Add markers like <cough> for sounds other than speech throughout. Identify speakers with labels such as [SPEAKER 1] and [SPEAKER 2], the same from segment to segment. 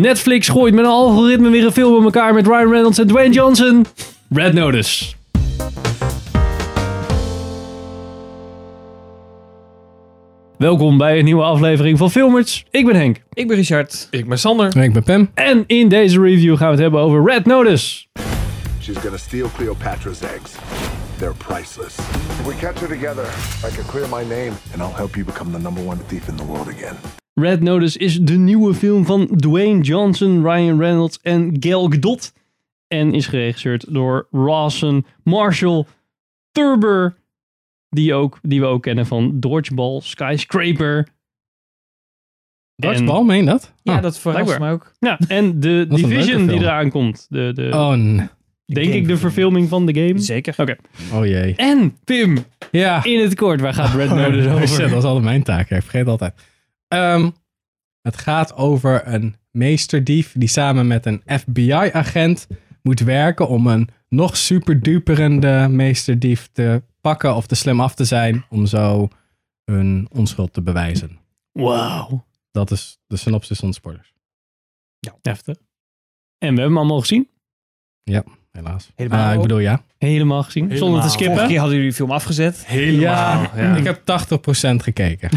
[SPEAKER 1] Netflix gooit met een algoritme weer een film op elkaar met Ryan Reynolds en Dwayne Johnson. Red Notice. Welkom bij een nieuwe aflevering van Filmers. Ik ben Henk.
[SPEAKER 2] Ik ben Richard.
[SPEAKER 3] Ik ben Sander.
[SPEAKER 4] En ik ben Pam.
[SPEAKER 1] En in deze review gaan we het hebben over Red Notice.
[SPEAKER 5] She's gonna steal Cleopatra's eggs. They're priceless. If we catch her together, I can clear my name, and I'll help you become the number one thief in the world again.
[SPEAKER 1] Red Notice is de nieuwe film van Dwayne Johnson, Ryan Reynolds en Gal Gadot. En is geregisseerd door Rawson Marshall Thurber. Die, ook, die we ook kennen van Dodgeball, Skyscraper.
[SPEAKER 4] Dartsbal, meen je dat?
[SPEAKER 2] Ja,
[SPEAKER 4] Oh.
[SPEAKER 2] dat verrast
[SPEAKER 1] blijkbaar.
[SPEAKER 2] me ook.
[SPEAKER 1] Ja, en de
[SPEAKER 4] Wat een
[SPEAKER 1] Division
[SPEAKER 4] leuke
[SPEAKER 1] die
[SPEAKER 4] film.
[SPEAKER 1] eraan komt. De, de,
[SPEAKER 4] Oh, nee.
[SPEAKER 1] denk ik de verfilming van de game.
[SPEAKER 2] Zeker.
[SPEAKER 1] Oké.
[SPEAKER 4] oh jee.
[SPEAKER 1] En Pim,
[SPEAKER 4] <laughs> Ja.
[SPEAKER 1] in het kort, waar gaat Red
[SPEAKER 4] <laughs> Oh,
[SPEAKER 1] Notice
[SPEAKER 4] shit,
[SPEAKER 1] over?
[SPEAKER 4] dat is altijd mijn taak. hè. Ik vergeet altijd. Ehm, het gaat over een meesterdief die samen met een FBI-agent moet werken om een nog superduperende meesterdief te pakken of te slim af te zijn om zo hun onschuld te bewijzen.
[SPEAKER 1] Wauw.
[SPEAKER 4] Dat is de synopsis van spoilers.
[SPEAKER 1] Heftig. En we hebben hem allemaal gezien.
[SPEAKER 4] Helaas.
[SPEAKER 2] Helemaal
[SPEAKER 4] Ah, ik
[SPEAKER 2] ook.
[SPEAKER 4] bedoel, ja.
[SPEAKER 1] Helemaal gezien. Zonder te
[SPEAKER 3] Helemaal.
[SPEAKER 2] Vorige
[SPEAKER 1] skippen.
[SPEAKER 2] keer hadden jullie de film afgezet.
[SPEAKER 3] Helemaal. Ja.
[SPEAKER 4] Ik heb 80%
[SPEAKER 2] <laughs>
[SPEAKER 4] gekeken.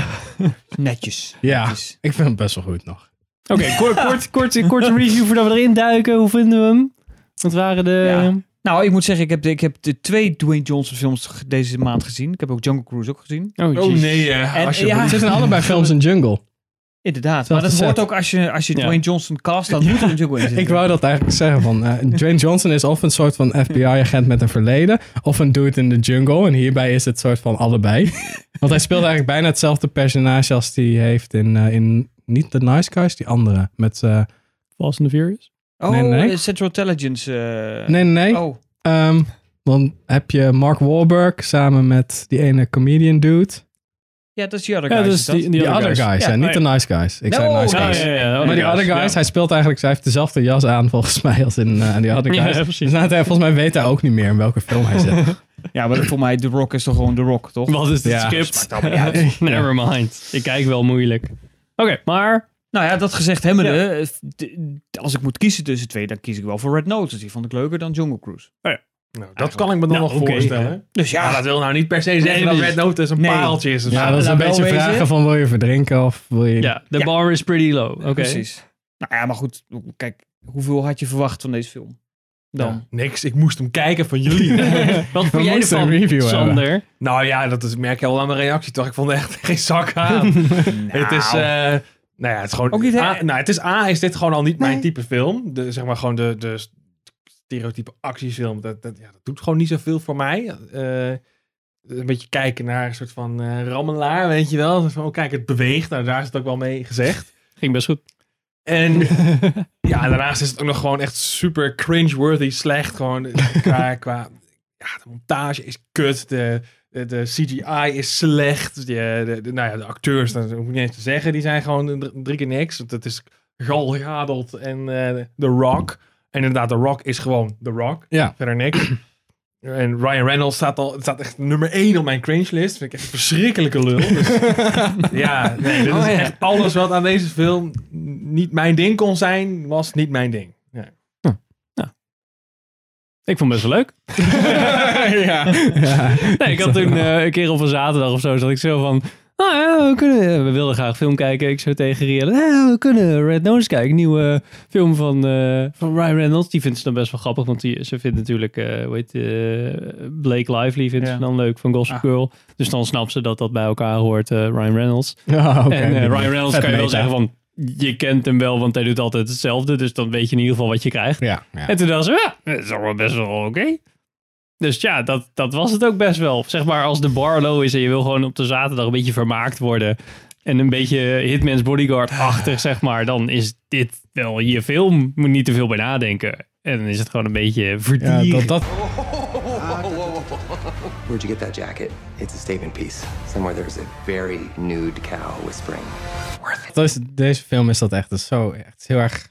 [SPEAKER 2] Netjes.
[SPEAKER 4] ja,
[SPEAKER 2] Netjes.
[SPEAKER 4] ik vind hem best wel goed nog.
[SPEAKER 1] Oké,
[SPEAKER 3] <laughs>
[SPEAKER 1] kort, kort, kort, korte review voordat we erin duiken. Hoe vinden we hem? Wat waren de...
[SPEAKER 2] Ja. Nou, ik moet zeggen, ik heb, de, ik heb de twee Dwayne Johnson films ge- deze maand gezien. Ik heb ook Jungle Cruise ook gezien.
[SPEAKER 1] Oh,
[SPEAKER 3] Oh
[SPEAKER 1] jeez.
[SPEAKER 3] nee, hè.
[SPEAKER 2] En-
[SPEAKER 3] alsjeblieft.
[SPEAKER 2] ja.
[SPEAKER 4] Het zit in allebei films in Jungle.
[SPEAKER 2] <laughs> Inderdaad.
[SPEAKER 4] Zelfde
[SPEAKER 2] maar dat
[SPEAKER 4] set.
[SPEAKER 2] hoort ook als je, als je
[SPEAKER 1] Ja.
[SPEAKER 2] Dwayne Johnson cast, dan moet er natuurlijk wel in zitten.
[SPEAKER 4] Ik wou dat eigenlijk zeggen. Van, eh, Dwayne Johnson is of een soort van FBI-agent met een verleden. Of een dude in de jungle. En hierbij is het soort van allebei. <laughs> Want hij speelt eigenlijk bijna hetzelfde personage als die heeft in... eh, in niet de Nice Guys, die andere. Met, eh,
[SPEAKER 1] Fast and the Furious?
[SPEAKER 2] Oh,
[SPEAKER 4] Nee, nee.
[SPEAKER 2] eh, Central Intelligence. eh,
[SPEAKER 4] nee, nee, nee.
[SPEAKER 2] Oh,
[SPEAKER 4] Ehm, dan heb je Mark Wahlberg samen met die ene comedian dude.
[SPEAKER 2] ja, dat is die other
[SPEAKER 1] Ja,
[SPEAKER 2] guy.
[SPEAKER 1] dat
[SPEAKER 2] is
[SPEAKER 1] is
[SPEAKER 2] dat?
[SPEAKER 1] die-
[SPEAKER 4] Die,
[SPEAKER 1] die
[SPEAKER 4] other, guys,
[SPEAKER 1] Ja,
[SPEAKER 4] hè, niet de
[SPEAKER 1] nee. oh,
[SPEAKER 4] Nice Guys. Ik
[SPEAKER 2] No,
[SPEAKER 4] zei
[SPEAKER 3] Oh,
[SPEAKER 4] Nice
[SPEAKER 2] nee,
[SPEAKER 4] Guys.
[SPEAKER 2] nee,
[SPEAKER 4] Maar die other guys, hij speelt eigenlijk, hij heeft dezelfde jas aan volgens mij als in eh, die other
[SPEAKER 1] Ja,
[SPEAKER 4] guys.
[SPEAKER 1] precies.
[SPEAKER 4] dus nou, hij- volgens mij weet hij ook niet meer in welke film hij zit.
[SPEAKER 2] Ja, maar voor mij, The Rock is toch gewoon The Rock, toch?
[SPEAKER 1] Wat is dit
[SPEAKER 4] Ja,
[SPEAKER 1] script?
[SPEAKER 2] allemaal niet uit.
[SPEAKER 1] <laughs> Never mind. Ik kijk wel moeilijk. Oké, maar...
[SPEAKER 2] Nou ja, dat gezegd hebbende, eh, f- de- als ik moet kiezen tussen twee, dan kies ik wel voor Red Notice. Die vond ik leuker dan Jungle Cruise.
[SPEAKER 3] Nou, dat kan ik me dan
[SPEAKER 1] Nou,
[SPEAKER 3] nog
[SPEAKER 1] oké,
[SPEAKER 3] voorstellen.
[SPEAKER 2] Dus
[SPEAKER 3] Ja, dat wil nou niet per se zeggen
[SPEAKER 1] Nee,
[SPEAKER 3] dat
[SPEAKER 1] dus-
[SPEAKER 3] Red Notice een
[SPEAKER 2] nee.
[SPEAKER 3] paaltje is. of
[SPEAKER 4] Ja,
[SPEAKER 3] zo.
[SPEAKER 4] dat is een
[SPEAKER 2] nou, wel
[SPEAKER 4] beetje
[SPEAKER 2] wezen.
[SPEAKER 4] vragen van wil je verdrinken of wil je... <laughs>
[SPEAKER 1] Ja, de
[SPEAKER 2] Ja.
[SPEAKER 1] bar is pretty low. Oké. <laughs>
[SPEAKER 2] Precies. Nou ja, maar goed, kijk, hoeveel had je verwacht van deze film? Dan.
[SPEAKER 3] Ja, niks. Ik moest hem kijken van
[SPEAKER 2] <laughs>
[SPEAKER 3] jullie.
[SPEAKER 1] Wat vond jij
[SPEAKER 4] moesten
[SPEAKER 1] ervan,
[SPEAKER 4] een review
[SPEAKER 1] Sander?
[SPEAKER 3] nou ja, dat is, merk je al aan mijn reactie toch? Ik vond er echt <laughs> geen zak aan.
[SPEAKER 2] <laughs>
[SPEAKER 3] Het is... eh, nou ja, het is gewoon...
[SPEAKER 2] Nou. Ook niet, hè?
[SPEAKER 3] A, nou, het is A, is dit gewoon al niet mijn type film. De, zeg maar gewoon de, de st- stereotype actiefilm. Dat, dat, ja, dat doet gewoon niet zoveel voor mij. Eh, een beetje kijken naar een soort van eh, rammelaar, weet je wel. Een soort van, oh, kijk, het beweegt. Nou, daar is het ook wel mee gezegd.
[SPEAKER 1] Ging best goed.
[SPEAKER 3] En ja, daarnaast is het ook nog gewoon echt super cringe-worthy slecht. Gewoon <laughs> qua, qua ja, de montage is kut. De, de, de CGI is slecht. De, de, de- nou ja, de acteurs, dat hoef ik niet eens te zeggen. Die zijn gewoon dr- drie keer niks. Want Dat is Gal Gadot en eh The Rock. En inderdaad, The Rock is gewoon The Rock.
[SPEAKER 4] Ja.
[SPEAKER 3] Verder niks. En Ryan Reynolds staat al staat echt nummer één op mijn cringe list. Vind ik echt een verschrikkelijke lul. Dus, ja, nee, dit
[SPEAKER 2] Oh,
[SPEAKER 3] is
[SPEAKER 2] ja.
[SPEAKER 3] echt alles wat aan deze film niet mijn ding kon zijn, was niet mijn ding. Ja.
[SPEAKER 1] Ik vond het best wel leuk. <laughs> Nee, ik had toen eh, een keer op een zaterdag of zo, zat ik zo van... Nou ja, we, kunnen, we wilden graag film kijken. Ik zo tegen Rielle, "Nou, we kunnen Red Notice kijken. Een nieuwe film van, eh, van Ryan Reynolds. Die vindt ze dan best wel grappig, want die, ze vindt natuurlijk... eh hoe heet, eh, Blake Lively vindt
[SPEAKER 2] Ja.
[SPEAKER 1] ze dan leuk, van Gossip
[SPEAKER 2] Ah.
[SPEAKER 1] Girl. Dus dan snapt ze dat dat bij elkaar hoort, eh, Ryan Reynolds.
[SPEAKER 4] Ja, Oh, oké.
[SPEAKER 1] en eh, Ryan Reynolds
[SPEAKER 4] Vet
[SPEAKER 1] kan je wel
[SPEAKER 4] meta.
[SPEAKER 1] zeggen van... Je kent hem wel, want hij doet altijd hetzelfde. Dus dan weet je in ieder geval wat je krijgt.
[SPEAKER 4] Ja, ja.
[SPEAKER 1] En toen dacht ze, ja, dat is allemaal best wel oké. Dus ja, dat, dat was het ook best wel. Zeg maar, als de bar low is en je wil gewoon op de zaterdag een beetje vermaakt worden. En een beetje Hitman's
[SPEAKER 4] Ah.
[SPEAKER 1] Bodyguard-achtig, zeg maar. Dan is dit wel je film. Moet niet te veel bij nadenken. En dan is het gewoon een beetje
[SPEAKER 4] Ja,
[SPEAKER 1] verdier.
[SPEAKER 4] dat, dat,
[SPEAKER 6] Where'd you get that jacket? It's a statement piece. Somewhere there's a very nude cow whispering.
[SPEAKER 4] dat is, deze film is dat echt. Dat is zo echt heel erg... Het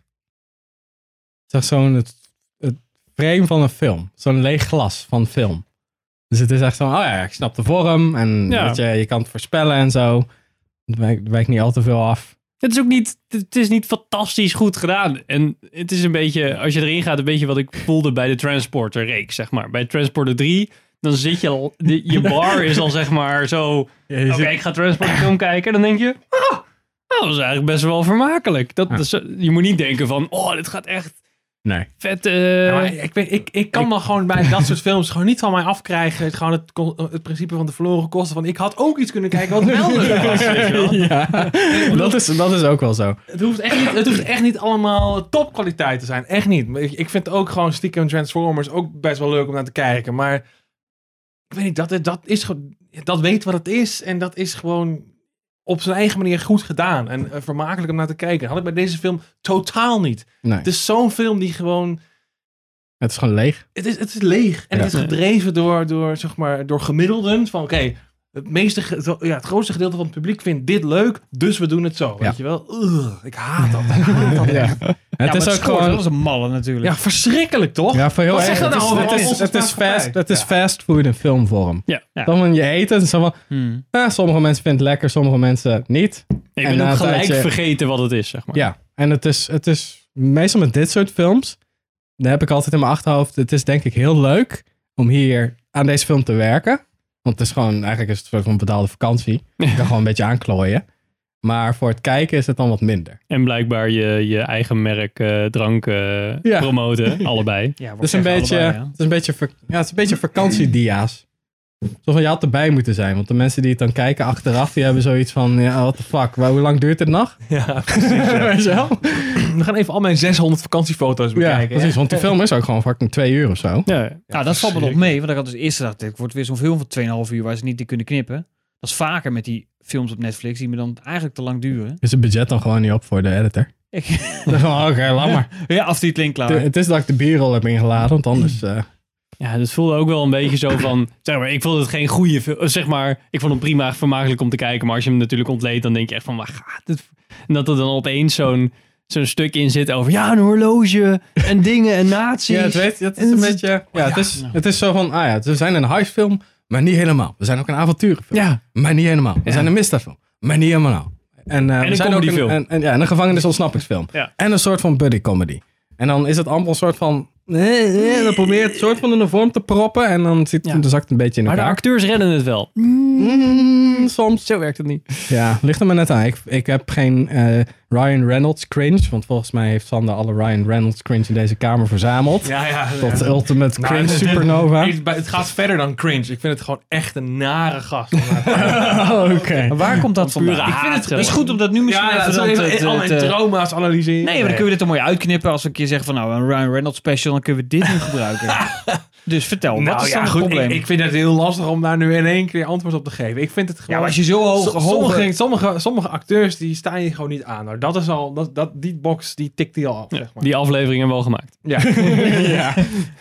[SPEAKER 4] is echt zo'n... Het, het frame van een film. Zo'n leeg glas van film. Dus het is echt zo oh ja, ik snap de vorm. En
[SPEAKER 1] Ja.
[SPEAKER 4] weet je, je kan het voorspellen en zo. Het wijkt, wijkt niet al te veel af.
[SPEAKER 1] Het is ook niet, het is niet fantastisch goed gedaan. En het is een beetje, als je erin gaat, een beetje wat ik voelde bij de Transporter reeks, zeg maar. Bij Transporter 3, dan zit je al, de- je bar is al zeg maar zo, oké, ik ga Transporter film kijken. Dan denk je, ah, dat was eigenlijk best wel vermakelijk. Dat, is- je moet niet denken van, oh, dit gaat echt
[SPEAKER 4] Nee.
[SPEAKER 1] vet. eh,
[SPEAKER 3] Ja, maar ik, weet- ik, ik kan dan gewoon bij dat soort films gewoon niet van mij afkrijgen. Het, gewoon het, kon- het principe van de verloren kosten. Van ik had ook iets
[SPEAKER 2] <laughs>
[SPEAKER 3] kunnen kijken wat wel leuk was. weet je wel.
[SPEAKER 4] Ja, <laughs> dat is, dat is ook wel zo.
[SPEAKER 3] Het hoeft, echt niet, het hoeft echt niet allemaal topkwaliteit te zijn. Echt niet. Maar Ik, ik vind ook gewoon stiekem Transformers ook best wel leuk om naar te kijken. Maar ik weet niet, dat, dat, is, ge- dat weet wat het is. En dat is gewoon op zijn eigen manier goed gedaan. En eh, vermakelijk om naar te kijken. Had ik bij deze film totaal niet.
[SPEAKER 4] Nee,
[SPEAKER 3] Het is zo'n film die gewoon...
[SPEAKER 4] het is gewoon leeg.
[SPEAKER 3] Het is, het is leeg. En het
[SPEAKER 4] Ja.
[SPEAKER 3] is gedreven door, door, zeg maar, door gemiddelden. Van oké, het, meeste ge- zo- ja, het grootste gedeelte van het publiek vindt dit leuk. Dus we doen het zo. Weet je wel? Ugh, ik haat dat. Ik haat dat.
[SPEAKER 4] Ja. <laughs> Het is ook gewoon...
[SPEAKER 2] Dat is een malle natuurlijk.
[SPEAKER 3] Ja, verschrikkelijk toch?
[SPEAKER 4] Ja, voor heel
[SPEAKER 3] Wat
[SPEAKER 4] erg.
[SPEAKER 3] zegt dat
[SPEAKER 4] het is,
[SPEAKER 3] nou over
[SPEAKER 4] het is,
[SPEAKER 3] onze
[SPEAKER 4] het is
[SPEAKER 3] maatschappij?
[SPEAKER 4] fast, het is fast food in filmvorm.
[SPEAKER 1] ja, ja.
[SPEAKER 4] Dan moet je eten. Zo van,
[SPEAKER 2] Hmm.
[SPEAKER 4] ah, sommige mensen vinden het lekker, sommige mensen niet.
[SPEAKER 1] Ik
[SPEAKER 4] En
[SPEAKER 1] ben
[SPEAKER 4] na
[SPEAKER 1] ook
[SPEAKER 4] een
[SPEAKER 1] gelijk
[SPEAKER 4] tijdje-
[SPEAKER 1] vergeten wat het is, zeg maar.
[SPEAKER 4] Ja, en het is, het is meestal met dit soort films, daar heb ik altijd in mijn achterhoofd, het is denk ik heel leuk om hier aan deze film te werken. Want het is gewoon, eigenlijk is het een soort van betaalde
[SPEAKER 1] <laughs>
[SPEAKER 4] vakantie. Je kan gewoon een beetje aanklooien. Maar voor het kijken is het dan wat minder.
[SPEAKER 1] En blijkbaar je, je eigen merk eh, drank eh,
[SPEAKER 4] Ja.
[SPEAKER 1] promoten, allebei.
[SPEAKER 2] Ja, wou
[SPEAKER 4] Het is, Dus een
[SPEAKER 2] ik zeggen,
[SPEAKER 4] beetje,
[SPEAKER 2] allebei, ja.
[SPEAKER 4] het, is een beetje ver- ja, het is een beetje vakantiedia's. Zo van, je had erbij moeten zijn. Want de mensen die het dan kijken achteraf, die hebben zoiets van, ja, what the fuck, waar- hoe lang duurt het nog?
[SPEAKER 3] Ja, precies, ja.
[SPEAKER 4] Weet je wel?
[SPEAKER 3] We gaan even al mijn 600 vakantiefoto's
[SPEAKER 4] Ja,
[SPEAKER 3] bekijken.
[SPEAKER 4] precies. Want die film is ook gewoon fucking twee uur of zo.
[SPEAKER 1] Ja.
[SPEAKER 2] Nou, dat valt me nog mee. Want ik had dus eerst gedacht, dit wordt weer zo'n film van 2,5 uur waar ze niet in kunnen knippen. Dat is vaker met die films op Netflix die me dan eigenlijk te lang duren.
[SPEAKER 4] Is het budget dan gewoon niet op voor de editor? <laughs>
[SPEAKER 2] Ik-
[SPEAKER 4] Dan gewoon, Oké, laat maar.
[SPEAKER 2] <laughs> ja, aftiteling klaar.
[SPEAKER 4] Het is dat ik de b-roll heb ingeladen, want anders... eh,
[SPEAKER 1] Ja, dat voelde ook wel een beetje zo van, zeg maar, ik vond het geen goede film. Zeg maar, ik vond hem prima vermakelijk om te kijken, maar als je hem natuurlijk ontleedt, dan denk je echt van, waar gaat het? voor? En dat er dan opeens zo'n zo'n stuk in zit over, ja, een horloge en dingen en nazi's.
[SPEAKER 4] ja, het, weet, het is een beetje... Ja, het is,
[SPEAKER 2] nou.
[SPEAKER 4] het is zo van, ah ja, we zijn een huisfilm, maar niet helemaal. We zijn ook een avonturenfilm,
[SPEAKER 1] Ja,
[SPEAKER 4] maar niet helemaal. We zijn een misdaadfilm, maar niet helemaal. En, eh, we
[SPEAKER 1] een
[SPEAKER 4] zijn ook
[SPEAKER 1] comedyfilm.
[SPEAKER 4] En, en, ja, en een gevangenisontsnappingsfilm.
[SPEAKER 1] Ja.
[SPEAKER 4] En een soort van buddy comedy. En dan is het allemaal een soort van... eh, eh, dan probeer je het soort van in de vorm te proppen en dan zit
[SPEAKER 1] Ja.
[SPEAKER 4] de zak een beetje in
[SPEAKER 1] maar de
[SPEAKER 4] elkaar.
[SPEAKER 1] acteurs redden het wel.
[SPEAKER 4] Mm, soms.
[SPEAKER 1] Zo werkt het niet.
[SPEAKER 4] Ja, ligt er maar net aan. Ik, ik heb geen eh, Ryan Reynolds cringe. Want volgens mij heeft Sander alle Ryan Reynolds cringe in deze kamer verzameld.
[SPEAKER 3] Ja, ja. ja.
[SPEAKER 2] eh,
[SPEAKER 4] Tot Ultimate
[SPEAKER 3] Nou,
[SPEAKER 4] Cringe
[SPEAKER 3] dit- dit-
[SPEAKER 4] Supernova.
[SPEAKER 3] Het, het gaat verder dan cringe. Ik vind het gewoon echt een nare gast.
[SPEAKER 4] Oké.
[SPEAKER 2] Maar waar komt dat
[SPEAKER 1] pure
[SPEAKER 2] vandaan? Ik vind
[SPEAKER 1] haat
[SPEAKER 2] het, het is
[SPEAKER 1] gewoon.
[SPEAKER 2] goed om dat nu misschien
[SPEAKER 3] ja,
[SPEAKER 2] even
[SPEAKER 3] dat is
[SPEAKER 2] dan
[SPEAKER 3] even,
[SPEAKER 2] te- te-
[SPEAKER 3] al mijn
[SPEAKER 2] te-
[SPEAKER 3] trauma's
[SPEAKER 2] Nee,
[SPEAKER 3] analyseren.
[SPEAKER 2] maar dan kunnen we dit er mooi uitknippen. Als we een keer zeggen van nou, een Ryan Reynolds special, dan kunnen we dit nu gebruiken. dus vertel, wat
[SPEAKER 3] Nou
[SPEAKER 2] is
[SPEAKER 3] ja,
[SPEAKER 2] dan het
[SPEAKER 3] goed.
[SPEAKER 2] probleem?
[SPEAKER 3] Ik, ik vind het heel lastig om daar nu in één keer antwoord op te geven. Ik vind het
[SPEAKER 2] ja,
[SPEAKER 3] gewoon.
[SPEAKER 2] maar als je zo hoog...
[SPEAKER 3] So- sommige, sommige, sommige acteurs die staan je gewoon niet aan. Nou, dat is al, dat, dat, die box die tikt die al af. Zeg maar.
[SPEAKER 1] Die afleveringen wel gemaakt.
[SPEAKER 3] ja.
[SPEAKER 4] <laughs>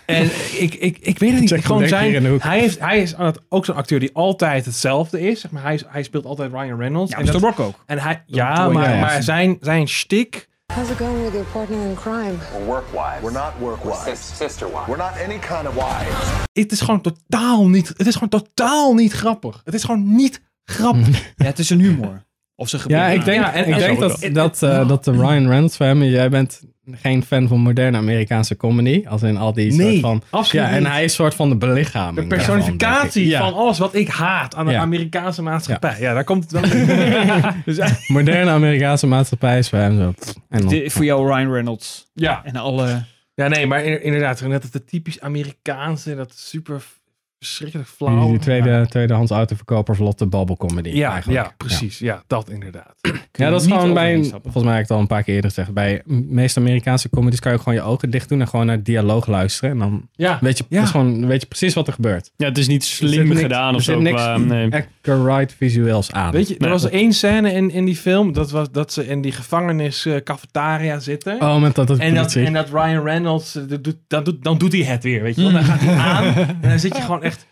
[SPEAKER 3] En ik, ik, ik weet het niet.
[SPEAKER 4] Jack
[SPEAKER 3] gewoon
[SPEAKER 4] Black hier in de
[SPEAKER 3] zijn,
[SPEAKER 4] hoek.
[SPEAKER 3] hij, heeft, hij is aan het, ook zo'n acteur die altijd hetzelfde is. Zeg maar, hij, is- hij speelt altijd Ryan Reynolds.
[SPEAKER 2] ja,
[SPEAKER 3] en,
[SPEAKER 2] Mr.
[SPEAKER 3] dat-
[SPEAKER 2] Rock ook.
[SPEAKER 3] en hij, ja,
[SPEAKER 4] Roy
[SPEAKER 3] maar,
[SPEAKER 4] Jones.
[SPEAKER 3] maar zijn, zijn shtick.
[SPEAKER 7] How's it going with your partner in crime?
[SPEAKER 6] We're work wives.
[SPEAKER 5] We're not work
[SPEAKER 6] sis-
[SPEAKER 5] wives.
[SPEAKER 6] sister wives.
[SPEAKER 5] We're not any kind of wives.
[SPEAKER 3] Het is gewoon totaal niet. Het is gewoon totaal niet grappig. Het is gewoon niet
[SPEAKER 4] <laughs>
[SPEAKER 3] grappig.
[SPEAKER 2] Ja, het is een humor. Of ze
[SPEAKER 4] Ja, ik denk,
[SPEAKER 3] Ja, en-
[SPEAKER 4] ik
[SPEAKER 3] en
[SPEAKER 4] denk
[SPEAKER 3] zo
[SPEAKER 4] dat,
[SPEAKER 3] ook.
[SPEAKER 4] dat, eh, dat de Ryan Reynolds family... Jij bent geen fan van moderne Amerikaanse comedy. Als in al die
[SPEAKER 3] Nee,
[SPEAKER 4] soort van...
[SPEAKER 3] absoluut
[SPEAKER 4] Ja, en
[SPEAKER 3] niet.
[SPEAKER 4] hij is soort van de
[SPEAKER 3] De
[SPEAKER 4] belichaming. daarvan,
[SPEAKER 3] personificatie
[SPEAKER 4] denk ik. Ja,
[SPEAKER 3] van alles wat ik haat aan de
[SPEAKER 4] Ja.
[SPEAKER 3] Amerikaanse maatschappij. Ja. daar komt het wel.
[SPEAKER 4] <laughs>
[SPEAKER 3] <laughs> Dus,
[SPEAKER 4] moderne Amerikaanse maatschappij is voor hem zo. pff, En dan-
[SPEAKER 2] voor jou Ryan Reynolds
[SPEAKER 3] ja.
[SPEAKER 2] en alle...
[SPEAKER 3] Ja, nee, maar in- inderdaad, net het typisch Amerikaanse, dat super f- verschrikkelijk
[SPEAKER 4] die,
[SPEAKER 3] flauw.
[SPEAKER 4] die tweede, tweedehands autoverkoper vlotte babbelcomedy
[SPEAKER 3] Oh, ja,
[SPEAKER 4] eigenlijk.
[SPEAKER 3] ja, precies. Ja, dat inderdaad.
[SPEAKER 4] Ja, dat is
[SPEAKER 2] niet
[SPEAKER 4] gewoon bij,
[SPEAKER 2] overheen stappen.
[SPEAKER 4] volgens mij heb ik het al een paar keer eerder gezegd, bij de meeste Amerikaanse comedies kan je ook gewoon je ogen dicht doen en gewoon naar het dialoog luisteren. En dan
[SPEAKER 3] Ja,
[SPEAKER 4] weet je,
[SPEAKER 3] Ja.
[SPEAKER 4] is gewoon, weet je precies wat er gebeurt.
[SPEAKER 1] Ja, het is niet
[SPEAKER 4] Er zit
[SPEAKER 1] slim
[SPEAKER 4] niks-
[SPEAKER 1] gedaan of
[SPEAKER 4] er
[SPEAKER 1] zo.
[SPEAKER 4] zit niks
[SPEAKER 1] qua- nee.
[SPEAKER 4] accurate visueels aan.
[SPEAKER 3] weet je, er
[SPEAKER 1] Nee,
[SPEAKER 3] was
[SPEAKER 1] dat-
[SPEAKER 3] één scène in, in die film, dat was dat ze in die gevangenis eh, cafetaria zitten.
[SPEAKER 4] oh, met dat, dat
[SPEAKER 3] En dat,
[SPEAKER 4] politie.
[SPEAKER 3] en dat Ryan Reynolds, eh, dat doet, dan, doet, dan doet hij het weer, weet je wel. Dan gaat hij
[SPEAKER 4] Hmm. <laughs>
[SPEAKER 3] aan en dan zit je gewoon echt,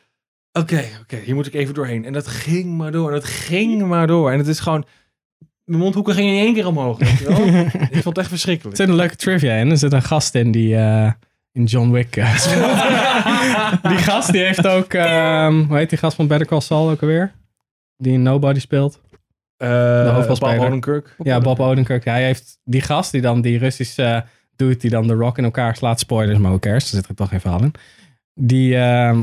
[SPEAKER 3] oké, oké, hier moet ik even doorheen. En dat ging maar door, en dat ging maar door. En het is gewoon, mijn mondhoeken gingen in één keer omhoog, weet je
[SPEAKER 4] <laughs>
[SPEAKER 3] wel. Ik vond het echt
[SPEAKER 4] Er
[SPEAKER 3] verschrikkelijk.
[SPEAKER 4] zit een leuke trivia in. Er zit een gast in die eh, in John Wick eh, speelt. die gast die heeft ook, ehm, hoe heet die gast van Better Call Saul ook alweer? Die in Nobody speelt.
[SPEAKER 3] de
[SPEAKER 4] hoofdrolspeler.
[SPEAKER 3] Eh, Bob Odenkirk.
[SPEAKER 4] Ja, Bob Odenkirk. Hij heeft die gast die dan die Russische eh, doet, die dan de Rock in elkaar slaat. Spoilers, maar ook kerst, er zit er toch geen verhaal in. Die, ehm,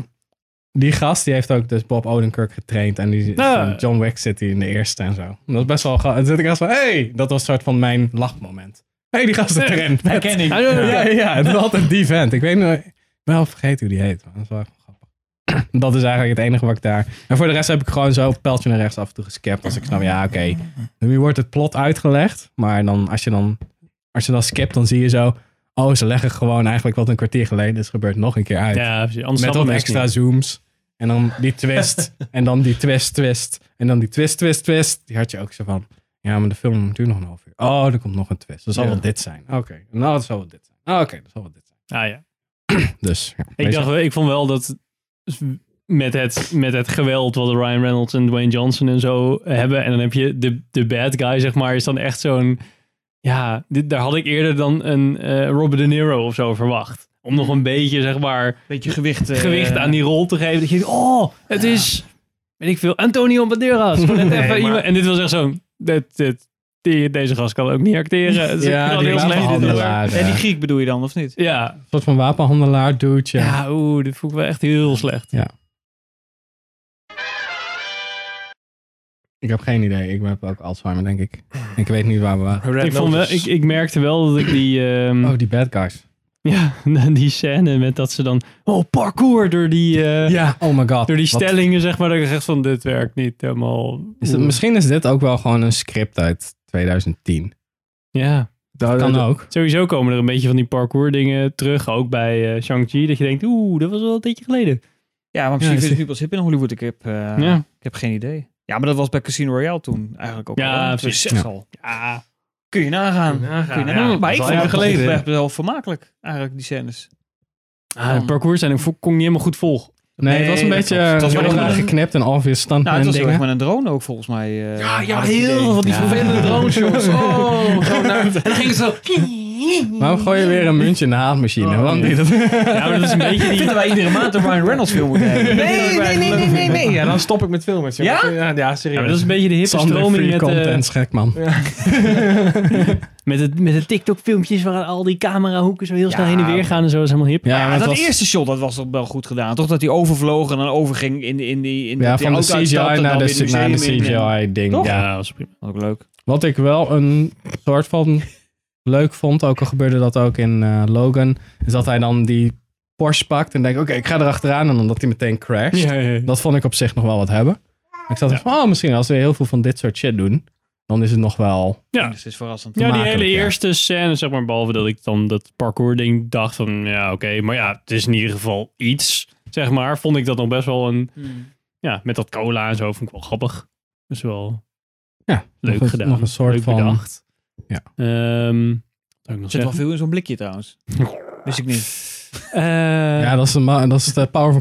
[SPEAKER 4] die gast die heeft ook dus Bob Odenkirk getraind. En die
[SPEAKER 1] Ah.
[SPEAKER 4] van John Wick zit hij in de eerste en zo. En dat is best wel grappig. En toen zit ik echt van, hey! dat was een soort van mijn lachmoment. hey, die gast zit erin.
[SPEAKER 2] Herken ik.
[SPEAKER 4] Ja, ja, het is altijd die vent. Ik weet nog, ik ben al vergeten hoe die heet. maar Dat is wel echt wel grappig. Dat is eigenlijk het enige wat ik daar... En voor de rest heb ik gewoon zo een pijltje naar rechts af en toe geskipt. Als ik snap, ja, oké. Nu wordt het plot uitgelegd. Maar dan, als je dan, als je dan skipt, dan zie je zo... Oh, ze leggen gewoon eigenlijk wat een kwartier geleden is gebeurd nog een keer uit.
[SPEAKER 1] Ja, precies. anders
[SPEAKER 4] Met
[SPEAKER 1] snappen
[SPEAKER 4] wat
[SPEAKER 1] mensen
[SPEAKER 4] extra
[SPEAKER 1] niet.
[SPEAKER 4] zooms. En dan die
[SPEAKER 1] <laughs>
[SPEAKER 4] twist. en dan die twist, twist. En dan die twist, twist, twist. Die had je ook zo van. Ja, maar de film duurt nog een half uur. Oh, er komt nog een twist. Dat zal
[SPEAKER 3] Ja.
[SPEAKER 4] wel dit zijn. Oké. Nou, dat zal wel dit zijn. Ah, Oké, dat zal wel dit zijn.
[SPEAKER 1] Ah, ja.
[SPEAKER 4] Dus. ja,
[SPEAKER 1] Ik,
[SPEAKER 4] wees-
[SPEAKER 1] dacht, wel- ik vond wel dat met het, met het geweld wat Ryan Reynolds en Dwayne Johnson en zo hebben. En dan heb je de, de bad guy, zeg maar, is dan echt zo'n... Ja, dit, daar had ik eerder dan een eh, Robert De Niro of zo verwacht. Om nog een beetje, zeg maar,
[SPEAKER 2] Beetje gewicht.
[SPEAKER 4] <laughs>
[SPEAKER 2] eh,
[SPEAKER 1] gewicht aan die rol te geven. Dat je denkt, oh, het is, weet ik veel, Antonio Banderas. <laughs> Gewoon net even iemand- En dit was echt zo'n... Dit, dit, die, deze gast kan ook niet acteren. <laughs> Het is
[SPEAKER 4] Ja,
[SPEAKER 1] wel
[SPEAKER 4] die
[SPEAKER 1] heel
[SPEAKER 4] laatste
[SPEAKER 1] slecht.
[SPEAKER 4] handelaar.
[SPEAKER 2] En die Griek bedoel je dan, of niet?
[SPEAKER 1] Ja,
[SPEAKER 4] Een soort van wapenhandelaar dude. Ja.
[SPEAKER 1] ja oeh, dit vond ik wel echt heel slecht.
[SPEAKER 4] Ik heb geen idee. Ik heb ook Alzheimer, denk ik. Ik weet niet waar we waren.
[SPEAKER 3] Red
[SPEAKER 1] Ik, vond wel,
[SPEAKER 3] Notice.
[SPEAKER 1] ik, ik merkte wel dat ik die, ehm,
[SPEAKER 4] Oh, die bad guys.
[SPEAKER 1] <laughs> ja, <laughs> die scène met dat ze dan, oh parkour door die, eh,
[SPEAKER 4] Ja, oh my god.
[SPEAKER 1] door die
[SPEAKER 4] Wat-
[SPEAKER 1] stellingen zeg maar, dat ik echt van dit werkt niet helemaal.
[SPEAKER 4] Is het, misschien is dit ook wel gewoon een script uit 2010.
[SPEAKER 1] Ja,
[SPEAKER 4] Dat
[SPEAKER 2] Oh,
[SPEAKER 4] kan ook.
[SPEAKER 1] sowieso komen er een beetje van die parkour dingen terug, ook bij eh, Shang-Chi, dat je denkt, oeh, dat was wel een tijdje geleden.
[SPEAKER 2] Ja, maar
[SPEAKER 4] Ja,
[SPEAKER 2] misschien is
[SPEAKER 4] zie-
[SPEAKER 2] het nu pas hip in Hollywood. Ik heb, eh,
[SPEAKER 1] Ja.
[SPEAKER 2] ik heb geen idee. Ja, maar dat was bij Casino Royale toen eigenlijk ook.
[SPEAKER 1] Ja,
[SPEAKER 2] al, hè?
[SPEAKER 1] precies.
[SPEAKER 2] 2006 al.
[SPEAKER 1] Ja,
[SPEAKER 2] Kun je nagaan.
[SPEAKER 3] Kun je nagaan,
[SPEAKER 2] Kun je nagaan.
[SPEAKER 1] ja.
[SPEAKER 2] maar
[SPEAKER 1] Dat
[SPEAKER 2] ik
[SPEAKER 1] is al
[SPEAKER 2] vond het
[SPEAKER 1] jaren
[SPEAKER 2] geleden.
[SPEAKER 1] geleden.
[SPEAKER 2] echt wel vermakelijk, eigenlijk, die scènes.
[SPEAKER 1] ah, parcours zijn, ik vo- kon ik niet helemaal goed volgen.
[SPEAKER 4] Nee, het was een
[SPEAKER 2] Nee,
[SPEAKER 4] beetje eh,
[SPEAKER 2] dat klopt. Het was
[SPEAKER 4] heel
[SPEAKER 2] wel
[SPEAKER 4] raar
[SPEAKER 2] een-
[SPEAKER 4] geknipt en obvious
[SPEAKER 2] Nou, het
[SPEAKER 4] standpunt
[SPEAKER 2] was heel erg
[SPEAKER 4] dingen.
[SPEAKER 2] met een drone ook, volgens mij. eh,
[SPEAKER 3] Ah,
[SPEAKER 2] had ik het idee.
[SPEAKER 1] van die
[SPEAKER 3] <laughs>
[SPEAKER 1] vervelende drone shots. Oh, en dan ging het zo.
[SPEAKER 4] Waarom gooi je
[SPEAKER 2] <laughs>
[SPEAKER 4] weer een muntje in de haatmachine?
[SPEAKER 2] Oh,
[SPEAKER 4] Waarom doe je Oh, dat?
[SPEAKER 1] <laughs> Ja, maar dat is een beetje
[SPEAKER 2] Ik
[SPEAKER 1] die...
[SPEAKER 2] vind dat wij iedere maand een Ryan Reynolds film moeten hebben.
[SPEAKER 3] Nee, nee, nee, nee, nee, nee. Ja, dan stop ik met filmen. zeg maar. Ja, ja,
[SPEAKER 1] Ja, maar
[SPEAKER 3] serieus.
[SPEAKER 1] dat is een beetje de hippe stroming
[SPEAKER 4] Sander
[SPEAKER 1] met, eh,
[SPEAKER 4] content, schek man.
[SPEAKER 1] Met het, met het TikTok-filmpjes waar al die camerahoeken zo heel snel
[SPEAKER 2] Ja.
[SPEAKER 1] heen en weer gaan en zo. is helemaal hip.
[SPEAKER 4] Ja, maar
[SPEAKER 2] Ja,
[SPEAKER 4] het
[SPEAKER 2] dat
[SPEAKER 4] was-
[SPEAKER 2] eerste shot dat was toch wel goed gedaan. Toch dat hij overvloog en dan overging in, in die... In
[SPEAKER 4] Ja,
[SPEAKER 2] die
[SPEAKER 4] van de
[SPEAKER 2] auto
[SPEAKER 4] CGI
[SPEAKER 2] uitstapte en
[SPEAKER 4] naar
[SPEAKER 2] dan
[SPEAKER 4] de,
[SPEAKER 2] weer het
[SPEAKER 4] naar de
[SPEAKER 2] museum in.
[SPEAKER 4] CGI-ding.
[SPEAKER 2] Toch?
[SPEAKER 4] Ja.
[SPEAKER 1] dat was prima.
[SPEAKER 2] Ook leuk.
[SPEAKER 4] Wat ik wel een soort van leuk vond, ook al gebeurde dat ook in eh, Logan, is dat hij dan die Porsche pakt en denkt, oké, ik ga erachteraan. En omdat hij meteen crasht. Dat vond ik op zich nog wel wat hebben. Maar Ik zat echt van, oh, misschien als we heel veel van dit soort shit doen, dan is het nog wel...
[SPEAKER 1] Ja.
[SPEAKER 2] Dus het is verrassend.
[SPEAKER 1] Ja, die
[SPEAKER 4] Makkelijk,
[SPEAKER 1] hele
[SPEAKER 4] ja.
[SPEAKER 1] eerste scène, zeg maar, behalve dat ik dan dat parcours-ding dacht van, ja, oké, maar ja, het is in ieder geval iets, zeg maar. Vond ik dat nog best wel een, ja, met dat cola en zo, vond ik wel grappig. Dus wel
[SPEAKER 4] Ja,
[SPEAKER 1] leuk
[SPEAKER 4] nog een-
[SPEAKER 1] gedaan.
[SPEAKER 4] Nog een soort
[SPEAKER 1] leuk
[SPEAKER 4] van...
[SPEAKER 1] bedacht.
[SPEAKER 4] ja.
[SPEAKER 1] Ehm, wat zou ik nog
[SPEAKER 2] Er zit wel
[SPEAKER 1] zeggen?
[SPEAKER 2] veel in zo'n blikje
[SPEAKER 4] <laughs>
[SPEAKER 2] trouwens. Wist ik niet.
[SPEAKER 1] Eh,
[SPEAKER 4] Ja, dat is, de ma- dat is de power van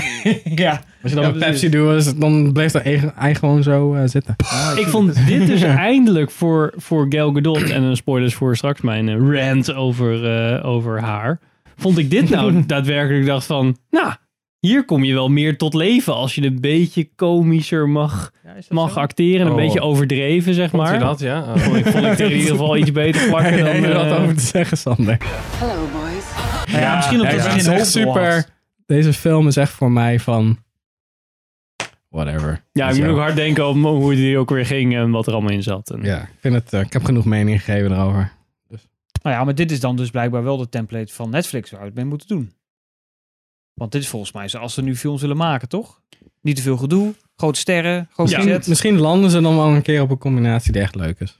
[SPEAKER 1] <laughs>
[SPEAKER 2] ja.
[SPEAKER 4] Als je dat
[SPEAKER 2] Ja,
[SPEAKER 4] met
[SPEAKER 2] precies.
[SPEAKER 4] Pepsi doet, is het- dan bleef dat ei, ei gewoon zo eh, zitten.
[SPEAKER 1] Ik
[SPEAKER 4] <laughs>
[SPEAKER 1] vond dit dus eindelijk voor, voor Gal Gadot, en een spoilers voor straks mijn eh, rant over, eh, over haar, vond ik dit
[SPEAKER 4] <laughs>
[SPEAKER 1] nou daadwerkelijk dacht van, nou, hier kom je wel meer tot leven als je een beetje komischer mag, mag acteren, en een
[SPEAKER 4] Oh.
[SPEAKER 1] beetje overdreven, zeg
[SPEAKER 3] Vond je
[SPEAKER 1] maar.
[SPEAKER 3] dat, ja? Oh.
[SPEAKER 1] Vond ik, vond
[SPEAKER 3] <laughs>
[SPEAKER 1] ik er in ieder geval iets
[SPEAKER 4] <laughs>
[SPEAKER 1] beter plakken dan...
[SPEAKER 4] Heb je er
[SPEAKER 1] eh,
[SPEAKER 4] wat over te zeggen, Sander?
[SPEAKER 7] Hello, boys.
[SPEAKER 2] Ja, misschien omdat
[SPEAKER 4] Ja,
[SPEAKER 2] het
[SPEAKER 4] het
[SPEAKER 2] geen
[SPEAKER 4] is echt
[SPEAKER 2] hoofdrol had.
[SPEAKER 4] super. Deze film is echt voor mij van... Whatever.
[SPEAKER 1] ja, ik
[SPEAKER 4] Zo.
[SPEAKER 1] moet ook hard denken om hoe die ook weer ging en wat er allemaal in zat. En,
[SPEAKER 4] Ja, ik, vind het, eh, ik heb genoeg mening gegeven erover.
[SPEAKER 2] Nou ja, maar dit is dan dus blijkbaar wel de template van Netflix waar we het mee moeten doen. Want dit is volgens mij zoals ze nu films willen maken, toch? Niet te veel gedoe, grote sterren, groot
[SPEAKER 1] Ja.
[SPEAKER 4] Misschien,
[SPEAKER 2] budget.
[SPEAKER 4] misschien landen ze dan wel een keer op een combinatie die echt leuk is.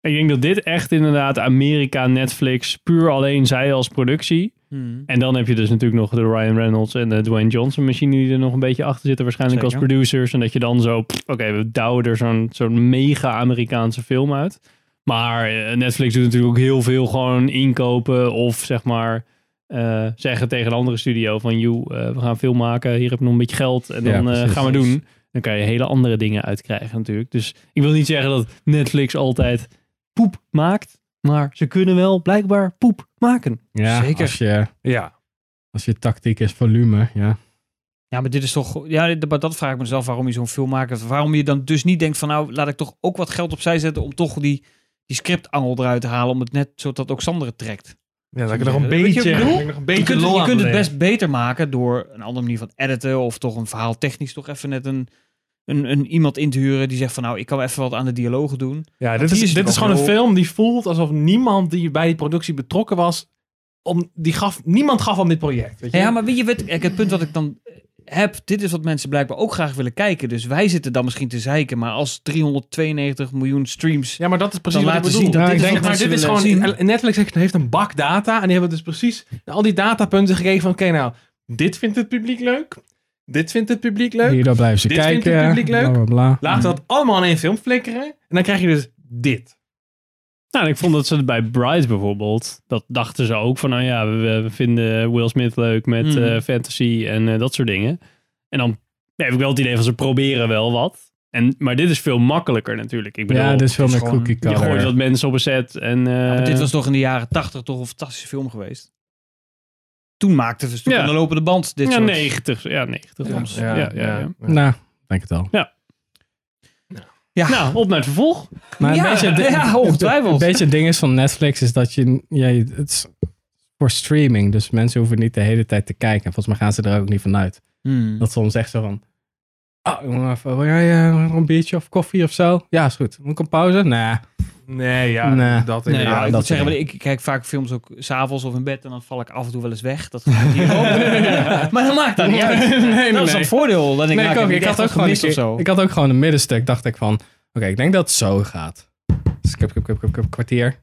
[SPEAKER 1] Ik denk dat dit echt inderdaad Amerika, Netflix, puur alleen zij als productie...
[SPEAKER 2] Hmm.
[SPEAKER 1] En dan heb je dus natuurlijk nog de Ryan Reynolds en de Dwayne Johnson machine die er nog een beetje achter zitten waarschijnlijk als
[SPEAKER 2] Zeker.
[SPEAKER 1] producers. En dat je dan zo, pff, oké, we douwen er zo'n zo'n mega Amerikaanse film uit. Maar eh, Netflix doet natuurlijk ook heel veel gewoon inkopen of zeg maar eh, zeggen tegen een andere studio van, joh, eh, we gaan film maken, hier heb je nog een beetje geld en
[SPEAKER 4] Ja,
[SPEAKER 1] dan eh,
[SPEAKER 4] precies.
[SPEAKER 1] gaan we doen. Dan kan je hele andere dingen uitkrijgen natuurlijk. Dus ik wil niet zeggen dat Netflix altijd poep maakt, maar ze kunnen wel blijkbaar poep maken.
[SPEAKER 4] Ja,
[SPEAKER 2] Zeker.
[SPEAKER 4] Als je,
[SPEAKER 3] Ja.
[SPEAKER 4] als je tactiek is volume, ja.
[SPEAKER 2] Ja, maar dit is toch... Ja, d- maar dat vraag ik mezelf waarom je zo'n film maakt. Waarom je dan dus niet denkt van nou, laat ik toch ook wat geld opzij zetten om toch die, die scriptangel eruit te halen. Om het net zodat ook Sander het trekt.
[SPEAKER 3] Ja, dat
[SPEAKER 2] ik
[SPEAKER 3] ik
[SPEAKER 2] er nog
[SPEAKER 3] nog
[SPEAKER 2] een
[SPEAKER 3] een
[SPEAKER 2] Weet je
[SPEAKER 3] beetje...
[SPEAKER 2] wat ik bedoel?
[SPEAKER 3] nog een
[SPEAKER 2] Je
[SPEAKER 3] beetje
[SPEAKER 2] kunt, het-
[SPEAKER 3] lol
[SPEAKER 2] je
[SPEAKER 3] aan
[SPEAKER 2] kunt het
[SPEAKER 3] beleven.
[SPEAKER 2] best beter maken door een andere manier van editen of toch een verhaal technisch toch even net een, een, een iemand in te huren die zegt van nou, ik kan even wat aan de dialogen doen.
[SPEAKER 3] Ja,
[SPEAKER 2] Want
[SPEAKER 3] dit
[SPEAKER 2] hier
[SPEAKER 3] is,
[SPEAKER 2] is
[SPEAKER 3] dit
[SPEAKER 2] het
[SPEAKER 3] is
[SPEAKER 2] nog
[SPEAKER 3] gewoon een
[SPEAKER 2] heel-
[SPEAKER 3] film die voelt alsof niemand die bij die productie betrokken was, om, die gaf, niemand gaf om dit project. Weet je?
[SPEAKER 2] Ja, maar weet je, weet, kijk, het punt wat ik dan heb, dit is wat mensen blijkbaar ook graag willen kijken. Dus wij zitten dan misschien te zeiken, maar als 392 miljoen streams...
[SPEAKER 3] Ja, maar dat is precies
[SPEAKER 2] Dan
[SPEAKER 3] wat ik
[SPEAKER 2] laten
[SPEAKER 3] bedoel.
[SPEAKER 2] zien dat
[SPEAKER 4] dit
[SPEAKER 3] ik
[SPEAKER 4] is
[SPEAKER 3] denk,
[SPEAKER 2] wat mensen
[SPEAKER 3] maar dit is
[SPEAKER 2] willen
[SPEAKER 3] gewoon, Netflix heeft- heeft een bak data en die hebben dus precies al die datapunten gekregen van, oké nou, dit vindt het publiek leuk, dit vindt het publiek leuk,
[SPEAKER 4] Hierdoor blijven ze
[SPEAKER 3] Dit
[SPEAKER 4] kijken.
[SPEAKER 3] vindt het publiek leuk.
[SPEAKER 4] Bla, bla, bla.
[SPEAKER 3] laten we dat allemaal in één film flikkeren en dan krijg je dus dit.
[SPEAKER 1] Nou, en ik vond dat ze het bij Bright bijvoorbeeld, dat dachten ze ook van, nou ja, we, we vinden Will Smith leuk met
[SPEAKER 2] Mhm.
[SPEAKER 1] eh, fantasy en eh, dat soort dingen. En dan heb ik wel het idee van ze proberen wel wat. En, maar dit is veel makkelijker natuurlijk. Ik bedoel,
[SPEAKER 4] ja, dus- dit is veel
[SPEAKER 2] het
[SPEAKER 4] meer
[SPEAKER 2] is gewoon-
[SPEAKER 4] cookie
[SPEAKER 1] je gooit
[SPEAKER 4] cutter.
[SPEAKER 1] wat mensen op een set en...
[SPEAKER 2] Ja,
[SPEAKER 1] eh,
[SPEAKER 2] maar dit was toch in de jaren 80 toch een fantastische film geweest? Toen maakten we toen
[SPEAKER 1] Ja.
[SPEAKER 2] aan de lopende band dit
[SPEAKER 1] ja,
[SPEAKER 2] soort...
[SPEAKER 1] 90. Ja, 90 soms. Ja, ja, ja,
[SPEAKER 4] Nou, denk het al.
[SPEAKER 2] Ja.
[SPEAKER 1] Nou, op naar het vervolg.
[SPEAKER 4] Maar
[SPEAKER 2] Ja,
[SPEAKER 4] een beetje, de-
[SPEAKER 2] ja, ongetwijfeld.
[SPEAKER 4] Een beetje het ding is van Netflix is dat je, ja, je- het is voor streaming, dus mensen hoeven niet de hele tijd te kijken. En volgens mij gaan ze er ook niet vanuit.
[SPEAKER 2] Hmm.
[SPEAKER 4] Dat soms echt zo van, ah, jongen, even- wil jij eh, nog een biertje of koffie of zo? Ja, is goed. Moet ik een pauze? Nee. <laughs>
[SPEAKER 3] Nee, ja,
[SPEAKER 4] Nee.
[SPEAKER 3] dat
[SPEAKER 2] Nee,
[SPEAKER 3] inderdaad.
[SPEAKER 2] ja, ik
[SPEAKER 4] dat
[SPEAKER 2] moet zeggen,
[SPEAKER 4] soort
[SPEAKER 2] maar ik kijk vaak films ook s'avonds of in bed en dan val ik af en toe wel <laughs> eens weg.
[SPEAKER 4] <laughs>
[SPEAKER 2] Dat gaat hier ook. maar dat maakt dat niet uit.
[SPEAKER 4] nee,
[SPEAKER 2] dat is een voordeel. Dan denk
[SPEAKER 4] Nee, ik,
[SPEAKER 2] nou, heb
[SPEAKER 4] ook. Ik
[SPEAKER 2] niet
[SPEAKER 4] had
[SPEAKER 2] echt
[SPEAKER 4] ook
[SPEAKER 2] wat
[SPEAKER 4] gewoon
[SPEAKER 2] gemist
[SPEAKER 4] een
[SPEAKER 2] of
[SPEAKER 4] keer-
[SPEAKER 2] zo.
[SPEAKER 4] ik had ook gewoon een middenstuk. Dacht ik van, oké, ik denk dat het zo gaat. Dus Skip, skip, skip, skip, skip, kwartier.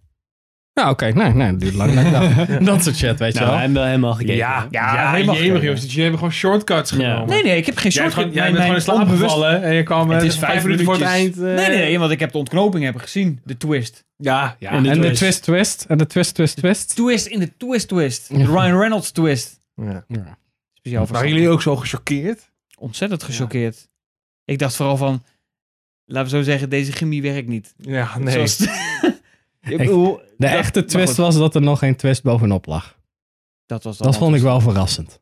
[SPEAKER 4] Nou, oké, nee, nee, dat duurt lang. dan ik dacht. Dat soort shit, weet je
[SPEAKER 1] Nou,
[SPEAKER 4] wel.
[SPEAKER 1] hij heeft wel helemaal gekeken.
[SPEAKER 3] Ja,
[SPEAKER 2] Ja,
[SPEAKER 3] ja,
[SPEAKER 2] helemaal
[SPEAKER 3] jemig,
[SPEAKER 2] geen-
[SPEAKER 3] jongens. Jullie hebben gewoon shortcuts
[SPEAKER 1] Ja.
[SPEAKER 3] genomen.
[SPEAKER 2] Nee, nee, ik heb geen
[SPEAKER 3] Jij
[SPEAKER 2] soort
[SPEAKER 3] bent gewoon, jij bent gewoon in slaap gevallen en je kwam
[SPEAKER 2] Het
[SPEAKER 3] eh,
[SPEAKER 2] is vijf
[SPEAKER 3] vijf minuten voor het eind.
[SPEAKER 2] minuutjes.
[SPEAKER 3] eh,
[SPEAKER 2] Nee, nee, nee, want ik heb de ontknoping hebben gezien. De twist.
[SPEAKER 3] Ja, ja.
[SPEAKER 1] En de
[SPEAKER 4] en de
[SPEAKER 1] twist.
[SPEAKER 4] twist, twist. En de twist, twist, twist.
[SPEAKER 2] Twist in de twist twist. De
[SPEAKER 4] Ja.
[SPEAKER 2] Ryan Reynolds twist.
[SPEAKER 3] Ja.
[SPEAKER 4] Ja.
[SPEAKER 2] Speciaal voor
[SPEAKER 3] Waren
[SPEAKER 2] Sander.
[SPEAKER 3] jullie ook zo gechoqueerd?
[SPEAKER 2] Ontzettend gechoqueerd. Ik dacht vooral van, laten we zo zeggen, deze chemie werkt niet.
[SPEAKER 3] Ja,
[SPEAKER 2] Zoals- Ik bedoel,
[SPEAKER 4] De
[SPEAKER 2] dat-
[SPEAKER 4] echte
[SPEAKER 2] maar
[SPEAKER 4] twist
[SPEAKER 2] goed,
[SPEAKER 4] was dat er nog geen twist bovenop lag.
[SPEAKER 2] Dat, was dan
[SPEAKER 4] Dat vond ik
[SPEAKER 2] anders.
[SPEAKER 4] wel verrassend.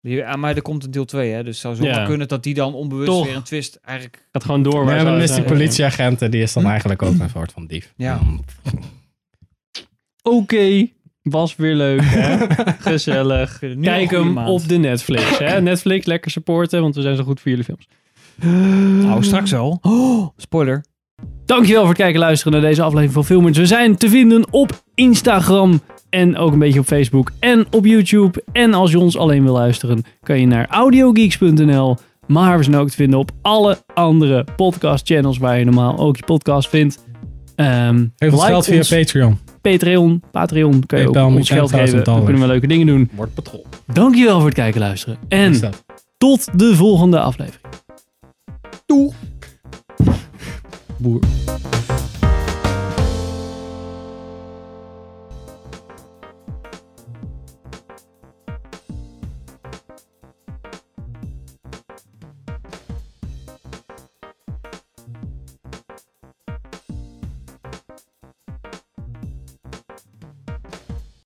[SPEAKER 2] Ja, maar er komt een deel 2, hè? Dus het zou zomaar
[SPEAKER 1] Ja.
[SPEAKER 2] kunnen dat die dan onbewust
[SPEAKER 1] Toch.
[SPEAKER 2] weer een twist eigenlijk...
[SPEAKER 1] Gaat gewoon door. waar
[SPEAKER 4] Ja,
[SPEAKER 1] ze
[SPEAKER 4] maar dan
[SPEAKER 1] uit
[SPEAKER 4] is die
[SPEAKER 1] zijn.
[SPEAKER 4] politieagent, eh, die is dan eigenlijk ook een soort van dief.
[SPEAKER 2] Ja.
[SPEAKER 1] Oké, was weer leuk. Hè? Gezellig.
[SPEAKER 2] Nu al
[SPEAKER 1] Kijk
[SPEAKER 2] goede
[SPEAKER 1] hem
[SPEAKER 2] maand.
[SPEAKER 1] op <laughs> de Netflix. Hè? Netflix, lekker supporten, want we zijn zo goed voor jullie films.
[SPEAKER 2] Nou, straks al. Oh, spoiler.
[SPEAKER 1] Dankjewel voor het kijken en luisteren naar deze aflevering van Filmers. We zijn te vinden op Instagram en ook een beetje op Facebook en op YouTube. En als je ons alleen wil luisteren, kan je naar audiogeeks.nl. Maar we zijn ook te vinden op alle andere podcast channels waar je normaal ook je podcast vindt. Ehm
[SPEAKER 4] Geef ons geld via
[SPEAKER 1] ons
[SPEAKER 4] Patreon.
[SPEAKER 1] Patreon. Patreon kan je
[SPEAKER 4] PayPal
[SPEAKER 1] ook
[SPEAKER 4] moet
[SPEAKER 1] ons geld
[SPEAKER 4] 10.000
[SPEAKER 1] geven. Dan
[SPEAKER 4] dollars.
[SPEAKER 1] kunnen we leuke dingen doen.
[SPEAKER 4] Wordt patrol.
[SPEAKER 1] Dankjewel voor het kijken en luisteren.
[SPEAKER 4] Is
[SPEAKER 1] En
[SPEAKER 4] dat?
[SPEAKER 1] tot de volgende aflevering.
[SPEAKER 4] Boer.